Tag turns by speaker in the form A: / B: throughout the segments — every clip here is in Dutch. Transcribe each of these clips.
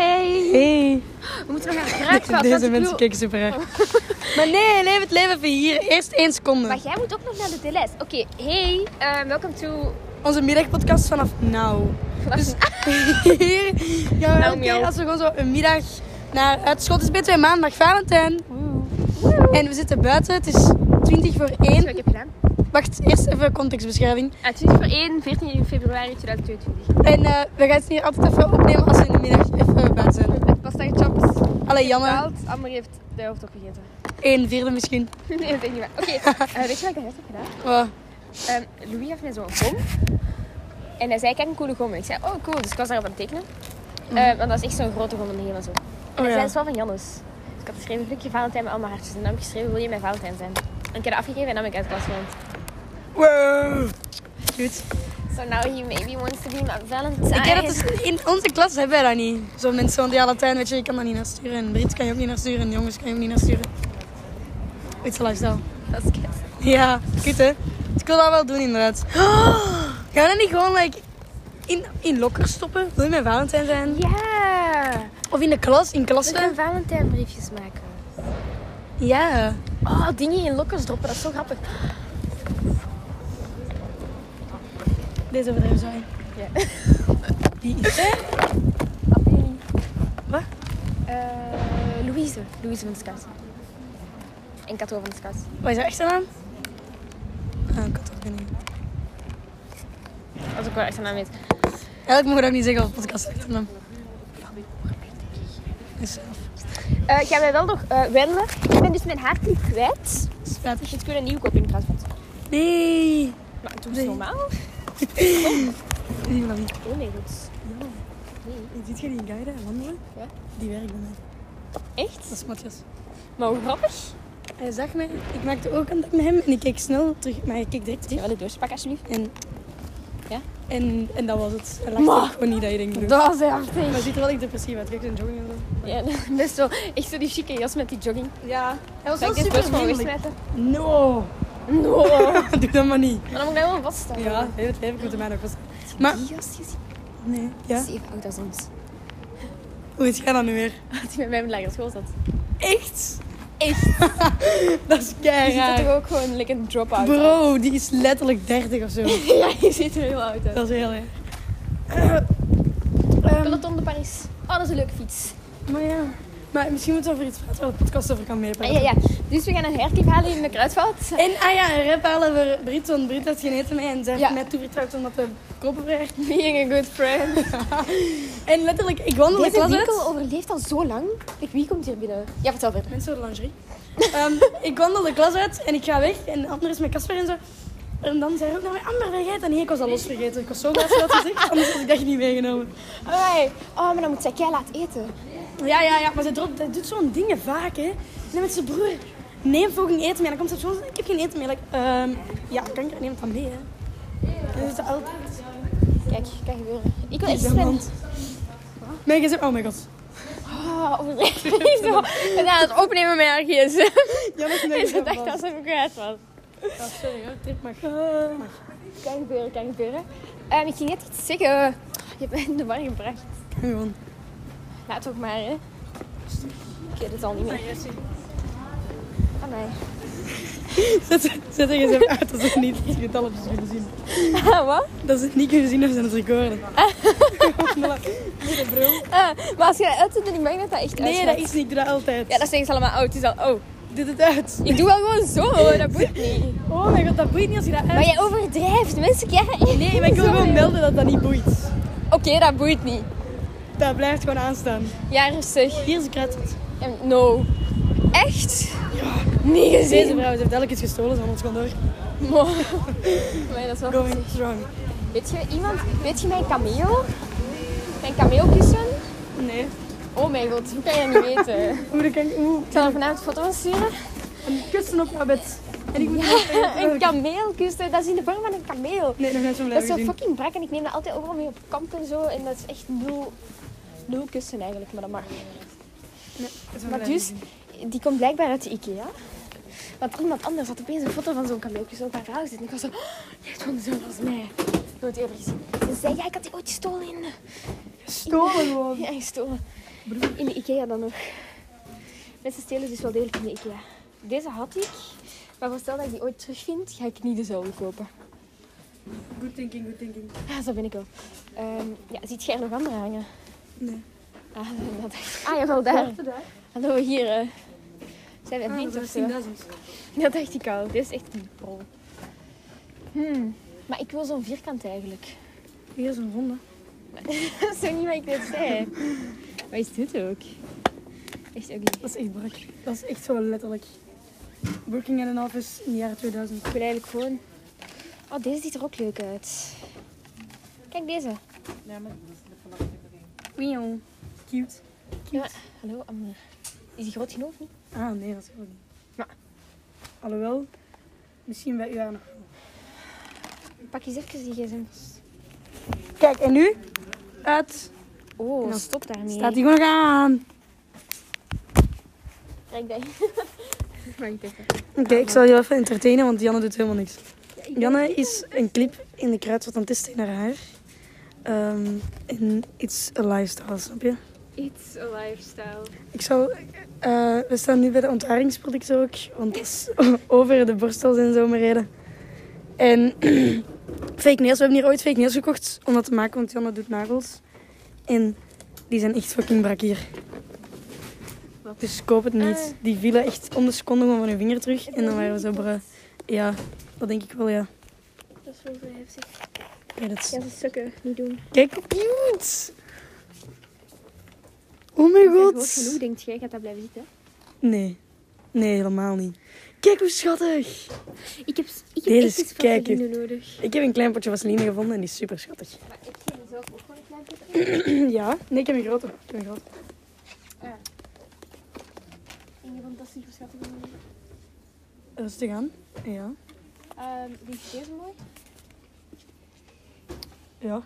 A: Hey!
B: Hey,
A: We moeten nog naar het graaksveld.
B: deze mensen kijken super raar. Maar nee, leef het leven even hier. Eerst één
A: Maar
B: seconde.
A: jij moet ook nog naar de DLS. Oké, hey, eh, welcome to...
B: Onze middagpodcast vanaf nou. Dus hier gaan we
A: Nou,
B: elke
A: miauw.
B: keer als we gewoon zo een middag naar uit school. Het is bij maandag Valentijn. En we zitten buiten. Het is 20 voor
A: Wat ik
B: 1.
A: heb gedaan.
B: Wacht, eerst even contextbeschrijving.
A: Ah, 20 voor 1, 14 februari 2022.
B: En eh, we gaan het hier altijd even opnemen als we in de middag even buiten zijn.
A: Met pasta chops.
B: Allee, Janne,
A: Betaald. Amber heeft de hoofd opgegeten.
B: 1 vierde misschien.
A: nee, dat weet ik niet waar. Oké, eh, weet je wat ik net heb gedaan?
B: Oh,
A: Ehm, Louis gaf mij zo'n gom. En hij zei, kijk een coole gom. Ik zei, oh cool. Dus ik was daarop aan het tekenen. Eh, want dat is echt zo'n grote gom om de hemel zo. En hij
B: oh
A: zei,
B: ja.
A: dat is wel van Jannes. Dus ik had geschreven, blikje Valentijn met allemaal hartjes. En dan heb ik geschreven, wil je mijn Valentijn zijn? En ik heb dat afgegeven en dan ben ik uit de klas geland.
B: Wow. Goed.
A: So now he maybe wants to be my Valentine.
B: Ik ken dat dus, in onze klas hebben wij dat niet. Zo mensen van die Latijn, weet je, je kan dat niet naar sturen. En Brits kan je ook niet naar sturen. En jongens kan je ook niet naar sturen. It's a lifestyle.
A: Dat is kut.
B: Ja, kut hè. Dus ik wil dat wel doen inderdaad. Oh, gaan we dat niet gewoon like, in, in lokkers stoppen? Wil je mijn Valentijn zijn?
A: Ja!
B: Of in de klas, in
A: We
B: klassen?
A: kunnen Valentijnbriefjes maken.
B: Ja.
A: Oh, dingen in lokkers droppen, dat is zo grappig.
B: Deze overdrijven zo in.
A: Ja.
B: Wie is het? Wat?
A: Eh, Louise. Louise van de Scouts. En Kato van de Scouts.
B: Wat is haar echte naam? Ah, ik had het ook niet.
A: Dat is ook wel echt een naam weet.
B: Eigenlijk mogen we dat ook niet zeggen op podcast echte naam. Is zelf.
A: Eh, gaan wij wel nog eh wandelen? Ik ben dus mijn haarklip kwijt.
B: Spijtig.
A: Dus ik wil een nieuw kopen in Kruisveld.
B: Nee.
A: Maar Nou, doe
B: Nee.
A: eens normaal.
B: Nee, Marie.
A: Oh nee, dat is...
B: Ziet je die guy daar wandelen?
A: Ja.
B: Die werkt bij mij. Dat
A: Echt?
B: is Matthias.
A: Maar hoe grappig.
B: Hij zag mij. Ik maakte ook contact met hem en ik keek snel terug. Maar hij keek direct
A: Ga
B: terug.
A: wel de doosje pakken alsjeblieft.
B: En,
A: Ja?
B: en, en dat was het. Hij
A: Maar-
B: lachte ook gewoon niet dat je denkt. broer.
A: Dat is
B: Maar hij
A: heftig.
B: ziet er wel echt depressief uit. Kijk, zijn jogging en zo.
A: Ja, best wel. Echt zo die chique jas met die jogging.
B: Ja. Hij was
A: Zal
B: wel
A: ik dit
B: super
A: bus gewoon
B: vriendelijk.
A: wegsmijten?
B: No.
A: No.
B: Doe dat maar niet.
A: Maar dan moet ik daar wel vaststellen.
B: Ja, heel het leven komt er mij nog vast. Maar...
A: Die jas is
B: Nee. Ja?
A: even oud als ons.
B: Hoe is jij dan nu weer?
A: Dat hij met mij op de lagere school zat.
B: Echt?
A: Echt?
B: Dat is
A: Je ziet er toch
B: keihard.
A: ook gewoon lekker een drop-out uit?
B: Bro, die is letterlijk 30 of zo.
A: ja, je ziet er heel oud uit.
B: Dat is heel erg. Ehm,
A: Peloton de Paris. Oh, dat is een leuke fiets.
B: maar ja, maar misschien moeten we over iets praten waar de podcast over kan
A: Ah,
B: meepraten.
A: ja, ja. Dus we gaan een herklief halen in de kruidvat.
B: En ah ja, een rap halen we Brit, want Brit had geneten mij en zij heeft
A: Ja.
B: mij toevertrouwd omdat we kopen werken.
A: Being a good friend.
B: En letterlijk, ik wandel de
A: Deze
B: klas
A: winkel
B: uit.
A: overleeft al zo lang. Kijk, wie komt hier binnen? Ja, vertel verder.
B: Mensen voor de lingerie. Ehm, ik wandel de klas uit en ik ga weg en de ander is met Casper en zo. En dan zei hij ook naar mij, Amber, vergeet dat niet. Ik was al los vergeten. Ik was zo laat dat gezegd, anders had ik dat niet meegenomen.
A: Hoi. Oh, maar dan moet zij kei laat eten.
B: Ja, ja, ja, maar ze dropt, dat doet zo'n dingen vaak, hè. En dan met zijn broer, neem fucking eten mee. En dan komt ze zo, ik heb geen eten meer. Like, ehm, ja, kan ik er neem het dan mee, hè. En dat is altijd.
A: Kijk, kan gebeuren. Ik wil echt
B: Ja,
A: zijn.
B: want- Mijn gezin, oh my god.
A: Oh, overdreven niet zo. En aan het opnemen met haar gsm.
B: Ja, dat is mijn
A: En
B: gezin.
A: ze dacht dat ze even kwijt was.
B: Sorry hoor, dit mag.
A: Kan gebeuren, kan gebeuren. Ehm, ik ging net iets zeggen. Je hebt mij in de war gebracht.
B: Gewoon.
A: Laat ook maar, hè. Ik weet het al niet meer. Ah, nee.
B: Zet, zet er gezin uit als ik niet het getal op kunnen zien.
A: Ah, wat?
B: Dat ze het niet kunnen zien of ze aan het recorden. Voilà. Nee, bro.
A: Ah, maar als je dat uitzet, dan ben ik dat dat echt
B: Nee,
A: uitgaat.
B: dat is niet, ik doe dat altijd.
A: Ja, dat zeggen ze allemaal. Oh, het is al... Oh,
B: Doe het uit.
A: ik doe wel gewoon zo. Dat boeit niet.
B: Oh mijn god, dat boeit niet als je dat
A: Maar
B: uit...
A: jij overdrijft. Mensen kijken...
B: Nee, maar ik wil gewoon melden dat dat niet boeit.
A: Oké, dat boeit niet.
B: Dat blijft gewoon aanstaan.
A: Ja, rustig.
B: Hier is een krat.
A: En Ehm, No. Echt? Niet
B: Deze
A: gezien.
B: vrouw heeft elk iets gestolen, ze ons gewoon door.
A: Mo. Maar dat is wel...
B: Going strong.
A: Weet je iemand... Weet je mijn kameel? Mijn kameelkussen?
B: Nee.
A: Oh mijn god, hoe kan je dat niet weten?
B: Hoe dan kan ik... Hoe?
A: Ik zal er vanavond foto's van sturen.
B: Een kussen op jouw bed. En ik moet... Ja,
A: Een kameelkussen, dat is in de vorm van een kameel.
B: Nee, nog net
A: Dat
B: zo
A: is
B: blijven
A: zo
B: zien.
A: fucking brak en ik neem dat altijd overal mee op kamp en zo. En dat is echt nul, nul kussen eigenlijk, maar dat mag. Maar dus, die komt blijkbaar uit de Ikea. Want iemand anders had opeens een foto van zo'n kameelkussen op haar raam zitten. En ik was zo, oh, die heeft gewoon zo als mij. Nooit eerder gezien. En ze zei, ja, ik had die ooit gestolen in eh,
C: Stolen gewoon.
A: Ja, gestolen. In de Ikea dan nog. Mensen stelen dus wel degelijk in de Ikea. Deze had ik, maar voor stel dat ik die ooit terugvind, ga ik niet dezelfde kopen.
C: Good thinking, good thinking.
A: Ja, zo ben ik wel. Ehm, ja, ziet jij er nog andere hangen?
C: Nee.
A: Ah, dat ah jawel, daar. Hallo, hier. eh, zijn we aan het
C: Ah,
A: eten
C: dat
A: of
C: is
A: zo?
C: 10.000.
A: Dat dacht ik al. Dit is echt een bol. Hmm. Maar ik wil zo'n vierkant eigenlijk.
B: Hier is een ronde.
A: dat is zo niet wat ik net zei. Wat is dit ook? Echt ook
B: Dat is echt brak. Dat is echt zo letterlijk. Working at an office in de jaren 2000.
A: Ik wil eigenlijk gewoon... Oh, deze ziet er ook leuk uit. Kijk deze.
C: Ja, maar dat is vanaf de
B: Wion. Cute.
A: Ja. Hallo, Amber. Is die groot genoeg of niet?
B: Ah, nee, dat is ook niet.
A: Maar-
B: Alhoewel, misschien bij u haar nog.
A: Pak eens even die gsm.
B: Kijk, en nu? Uit.
A: Oh,
B: Nou,
A: stop daarmee.
B: Staat hij gewoon aan.
A: Kijk daar. Maar ik denk dat-
B: Oké, ik zal je even entertainen, want Janne doet helemaal niks.
A: Ja, ik denk-
B: Janne is een clip in de kruid wat aan het testen in haar haar. Ehm, en it's a lifestyle, snap je?
D: It's a lifestyle.
B: Ik zal... eh, we staan nu bij de ontharingsproducten ook, want dat is over de borstels en zo maar reden. En fake nails. We hebben hier ooit fake nails gekocht om dat te maken, want Janne doet nagels. En die zijn echt fucking brak hier. Dus koop het niet.
A: Ah.
B: Die vielen echt om de seconde gewoon van hun vinger terug. En dan waren we zo bra. Ja, dat denk ik wel, ja.
A: Dat is wel zo heftig.
B: Ja, dat is-
A: Ja, ze sukken. Niet doen.
B: Kijk, cute! Oh mijn
A: Goed.
B: god!
A: genoeg, denkt jij. Gaat dat blijven zitten?
B: Nee. Nee, helemaal niet. Kijk hoe schattig!
A: Ik heb, ik
B: Deze
A: heb
B: is
A: echt iets
B: kei
A: vaseline nodig.
B: Ik heb een klein potje vaseline gevonden en die is super schattig.
A: Maar ik geef er zelf ook gewoon een klein beetje
B: ja? Nee, ik heb een grote. Ik heb een grote.
A: in. Want dat is super schattig.
B: Rustig aan. Ja.
A: Ehm, Vind je deze mooi?
B: Ja.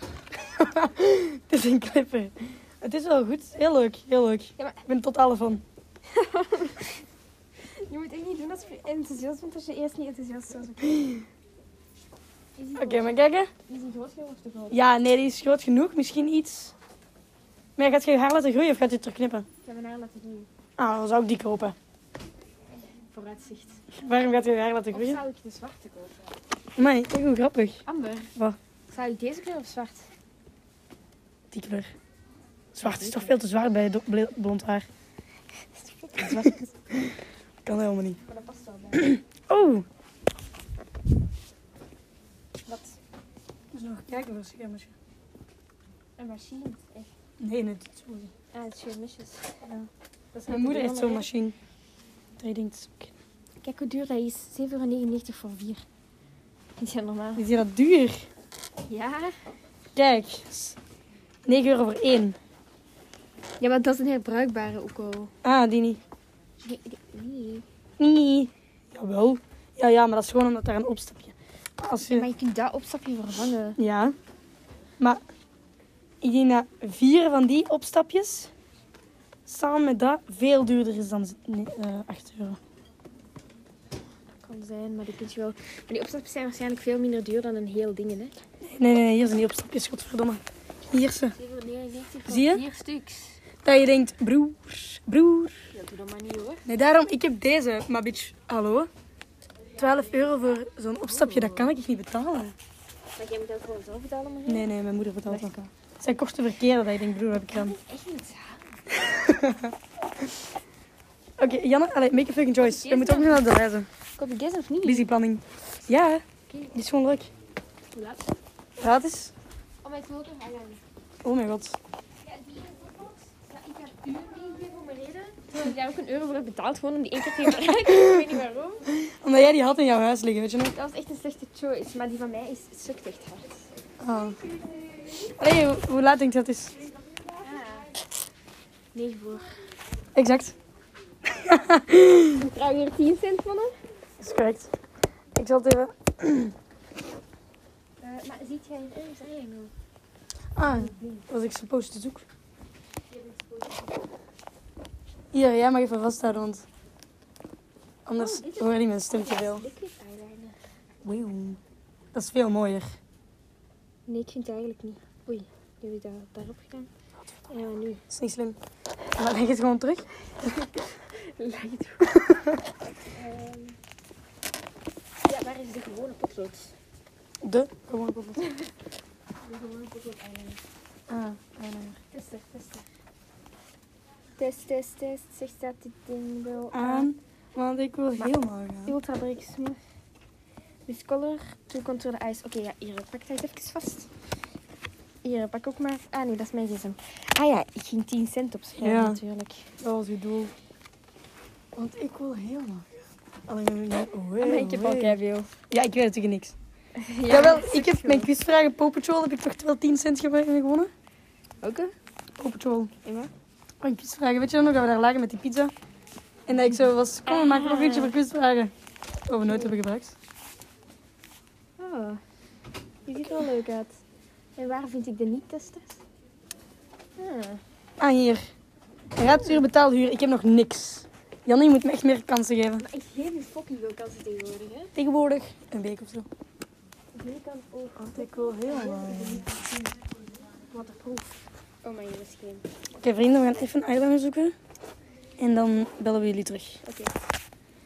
B: het is een clipper. Het is wel goed. Heel leuk. Heel leuk.
A: Ja, maar-
B: Ik ben totaal van.
A: Je moet echt niet doen als je enthousiast bent, als je eerst niet enthousiast was. Is die
B: Oké, maar kijken.
A: groot genoeg of te groot?
B: Ja, nee, die is groot genoeg. Misschien iets. Maar gaat je je haar laten groeien of gaat je het terugknippen?
A: Ik heb mijn haar laten doen.
B: Ah, dan zou ik die kopen.
A: Vooruitzicht.
B: Waarom gaat je je haar laten
A: Of
B: groeien?
A: zou ik de zwarte kopen?
B: Maar kijk hoe grappig.
A: Amber.
B: Wat?
A: Zou ik deze kleur of zwart?
B: Die kleur. Zwart is toch veel te zwaar bij do- bl- blond haar. Kan helemaal niet.
A: Maar dat past wel bij.
B: Oh!
A: Wat?
B: Dus nog kijken voor een misschien.
A: Een machine. Echt.
B: Nee, nee, dat is zo.
A: Ah, het is geen misjes.
B: Dat Mijn moeder heeft zo'n machine. Die denkt, oké.
A: Kijk hoe duur dat is. 7,99 voor 4. Is dat normaal?
B: is hier dat duur?
A: Ja.
B: Kijk, 9 euro voor één.
A: Ja, maar dat is een herbruikbare ook al.
B: Ah, die niet.
A: Nee, nee.
B: Nee. Jawel. Ja, ja, maar dat is gewoon omdat daar een opstapje. Als je...
A: Maar je kunt dat opstapje vervangen.
B: Ja. Maar ik denk dat vier van die opstapjes samen met dat veel duurder is dan z- nee, eh, 8 euro.
A: Kan zijn, maar die kun je wel. Maar die opstapjes zijn waarschijnlijk veel minder duur dan een heel ding, hè?
B: Nee, nee, nee, hier zijn die opstapjes, godverdomme. Hier ze.
A: 7,99
B: Zie je?
A: vier stuks.
B: Dat je denkt, broer, broer.
A: Ja, doe dat maar niet hoor.
B: Nee, daarom, ik heb deze, maar bitch, hallo. 12 euro voor zo'n opstapje, dat kan ik niet betalen.
A: Maar jij moet dat gewoon zelf betalen, maar.
B: Nee, nee, mijn moeder betaalt dat. Het zijn korte verkeren dat je denkt, broer, heb ik dan.
A: Echt niet.
B: Oké, Janne, allez, make a fucking choice. We moeten ook nog naar de lijzen.
A: Koop je deze of niet?
B: Busy planning. Ja, hè. die is gewoon leuk.
A: Hoe laat?
B: Gratis.
A: Oh, maar ik wil ook een highlighter.
B: Oh mijn god.
A: Ja, die is ook nog. Ja, ik heb puur meegegeven om een reden. Toen ik daar ook een euro voor heb betaald, gewoon om die één keer te gebruiken. ik weet niet waarom.
B: Omdat jij die had in jouw huis liggen, weet je nog?
A: Dat was echt een slechte choice, maar die van mij is sukt echt hard.
B: Oh. Allee, hoe, hoe laat denk je dat het is?
A: 9 voor.
B: Exact.
A: Ik krijg hier 10 cent van hem.
B: Dat is correct. Ik zal het even...
A: Eh, maar ziet jij een ergens eigenlijk?
B: Ah, was ik supposed te zoeken. Hier, jij mag even vasthouden, want... Anders
A: Oh,
B: hoor je mijn stem te veel.
A: Liquid eyeliner.
B: Wauw. Dat is veel mooier.
A: Nee, ik vind het eigenlijk niet. Oei. jullie daar, daarop gedaan. En nu
B: Dat is niet slim. Maar leg het gewoon terug.
A: leg het Ehm, ja, waar is de gewone potlood?
B: De. Gewoon bijvoorbeeld.
A: De gewone potlood eigenlijk.
B: Ah, eyeliner.
A: Tester, tester. Test, test, test. Zegt dat dit ding wel
B: Aan. Ehm, Want ik wil helemaal gaan.
A: Ultra breaks me. With color to control the eyes. Oké, ja, hier pak dat even vast. Hier pak ook maar. Ah nee, dat is mijn gsm. Ah ja, ik ging 10 cent opschrijven
B: Ja.
A: natuurlijk.
B: Dat was uw doel. Want ik wil helemaal gaan. Alleen maar
A: Ah, maar ik heb al keiveel.
B: Oh, Ja, ik weet natuurlijk niks. Jawel, ik heb mijn quizvragen Paw Patrol heb ik toch wel 10 cent gewo- gewonnen?
A: Oké.
B: Paw Patrol.
A: En wat?
B: Van quizvragen. Weet je nog dat we daar lagen met die pizza? En dat ik zo was, kom we maken een uurtje voor quizvragen. Wat we nooit hebben gebruikt.
A: Oh, die ziet er wel leuk uit. En waar vind ik de niet-testers? Ah.
B: Ah, hier. Raadstuur, betaalhuur. Ik heb nog niks. Jannie moet me echt meer kansen geven.
A: Maar ik geef je fucking veel kansen tegenwoordig, hè?
B: Tegenwoordig een week of zo.
A: Nu kan ook
B: Want ik wil helemaal. Oké,
A: waterproof. Oh, maar hier is geen.
B: vrienden, we gaan even een eyeliner zoeken. En dan bellen we jullie terug.
A: Oké.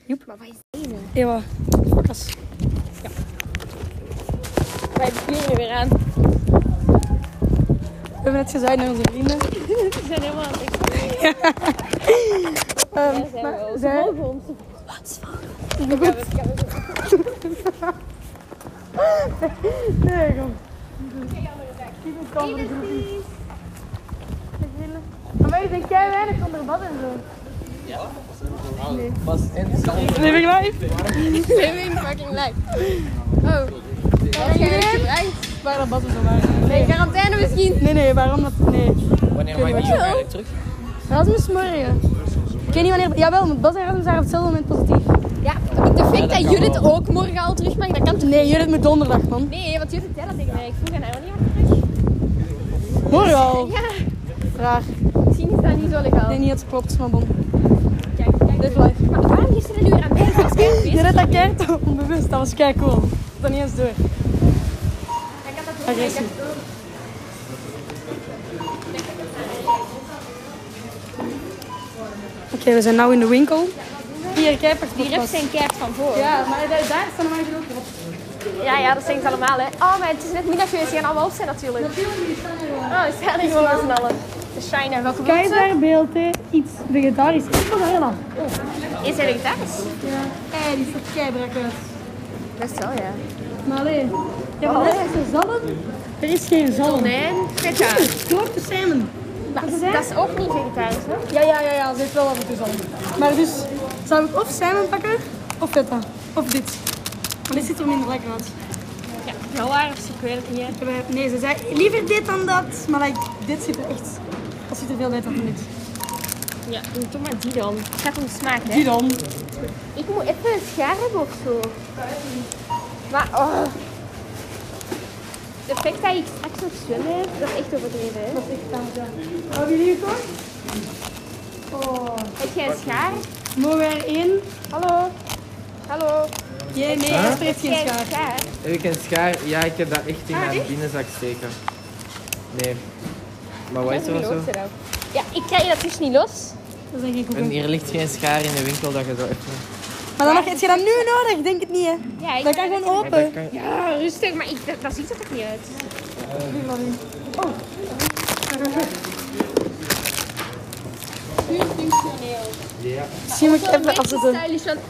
B: Joep.
A: Maar wat is deze?
B: Ewa, fokkas.
A: Wij kleren weer aan.
B: We hebben net gezegd naar onze vrienden.
A: We zijn helemaal aan het
B: Ehm,
A: zijn
B: maar
A: we ook.
B: zij-
A: Ze mogen ons
B: Maar goed. Nee, kom. Maar wij zijn jij weinig onder bad en zo.
E: Pas en zelf.
B: Living life.
A: living fucking life. Oh. Dat jij weer gebruikt.
B: Waar dat bad en zo waren.
A: Nee, quarantaine misschien.
B: Nee, nee, waarom dat? Nee.
E: Wanneer maak je die jongen eigenlijk terug?
B: Rasmus morgen. Ik weet niet wanneer. Jawel, want Bas en Rasmus waren op hetzelfde moment positief.
A: Ja, de feit dat
E: kan
A: Judith
E: wel.
A: ook morgen al terug mag, dat kan toch
B: Nee, jullie moet donderdag, man.
A: Nee, want Judith zei dat tegen mij. Ik vroeg aan haar wanneer mag ik terug.
B: Morgen al.
A: Ja,
B: Raar.
A: misschien is dat niet zo legaal.
B: Ik denk niet dat het klopt, maar bon.
A: Kijk, kijk.
B: Live life.
A: Maar waarom is er een uur aan mij? Dat is kei
B: Je
A: bezig.
B: redt dat keihard onbewust, dat was kei cool. Dan niet eens door.
A: Ik had dat ook.
B: Agressie. Oké, we zijn nu in de winkel. Hier, kijk, pak
A: Die rups zijn keihard van voor.
B: Ja, maar daar, daar staan maar ook op.
A: Ja, ja, dat zijn ze allemaal, hè. Oh, maar het is net middagfeest. Die gaan allemaal op zijn, natuurlijk.
B: Natuurlijk, die staan er wel.
A: Oh, ze gaan er gewoon met z'n allen. De shine, welke groente?
B: Keizersbeeld, hè. Iets vegetarisch. Ik vond dat heel lang.
A: Is hij vegetarisch?
B: Ja. Ei, die staat keibrak uit.
A: Best wel, ja.
B: Maar alleen, ja, maar dat is een zalm. Er is geen zalm.
A: Nee, feta.
B: Gekookte salmon.
A: Dat, is- dat is ook niet vegetarisch, hè?
B: Ja, ja, ja, ja, ze heeft wel af en toe zalm. Maar dus, zou ik of salmon pakken, of feta. Of dit. Maar dit ziet er minder lekker uit.
A: Ja, nou, heel aardig, ik weet het niet.
B: Ik heb- Nee, ze zei liever dit dan dat. Maar like, dit ziet er echt... Dat ziet er veel beter uit dan dit.
A: Ja, doe toch maar die dan. Het gaat om de smaak, hè?
B: Die dan.
A: Ik moet even een schaar hebben of zo. Maar, oh. De feit dat ik straks nog zwemmen heb, dat is echt overdreven, hè?
B: Dat is echt aan het Hebben jullie gekocht? Oh.
A: Heb jij een schaar?
B: Mogen we erin?
A: Hallo? Hallo?
B: Jee, nee, Jasper heeft geen
A: Jij een
B: schaar.
A: schaar?
E: Heb ik een schaar? Ja, ik heb dat echt in
A: Ah,
E: mijn
A: echt?
E: binnenzak steken. Nee. Maar wat is er
A: Hoe
E: zo?
A: loopt ze nou? Ja, ik krijg dat dus niet los.
B: Dat zijn geen
E: En
B: koeken.
E: hier ligt geen schaar in de winkel dat je zo even...
B: Maar dan mag, heb je dat nu nodig? Denk het niet, hè?
A: Ja, ik
B: Dat kan gewoon
E: Dat
B: open.
E: kan...
A: Ja, rustig, maar ik, dat, dat ziet er toch niet uit?
E: Ja.
B: Misschien moet ik even
A: Beetje
B: afzetten.
A: stylish, want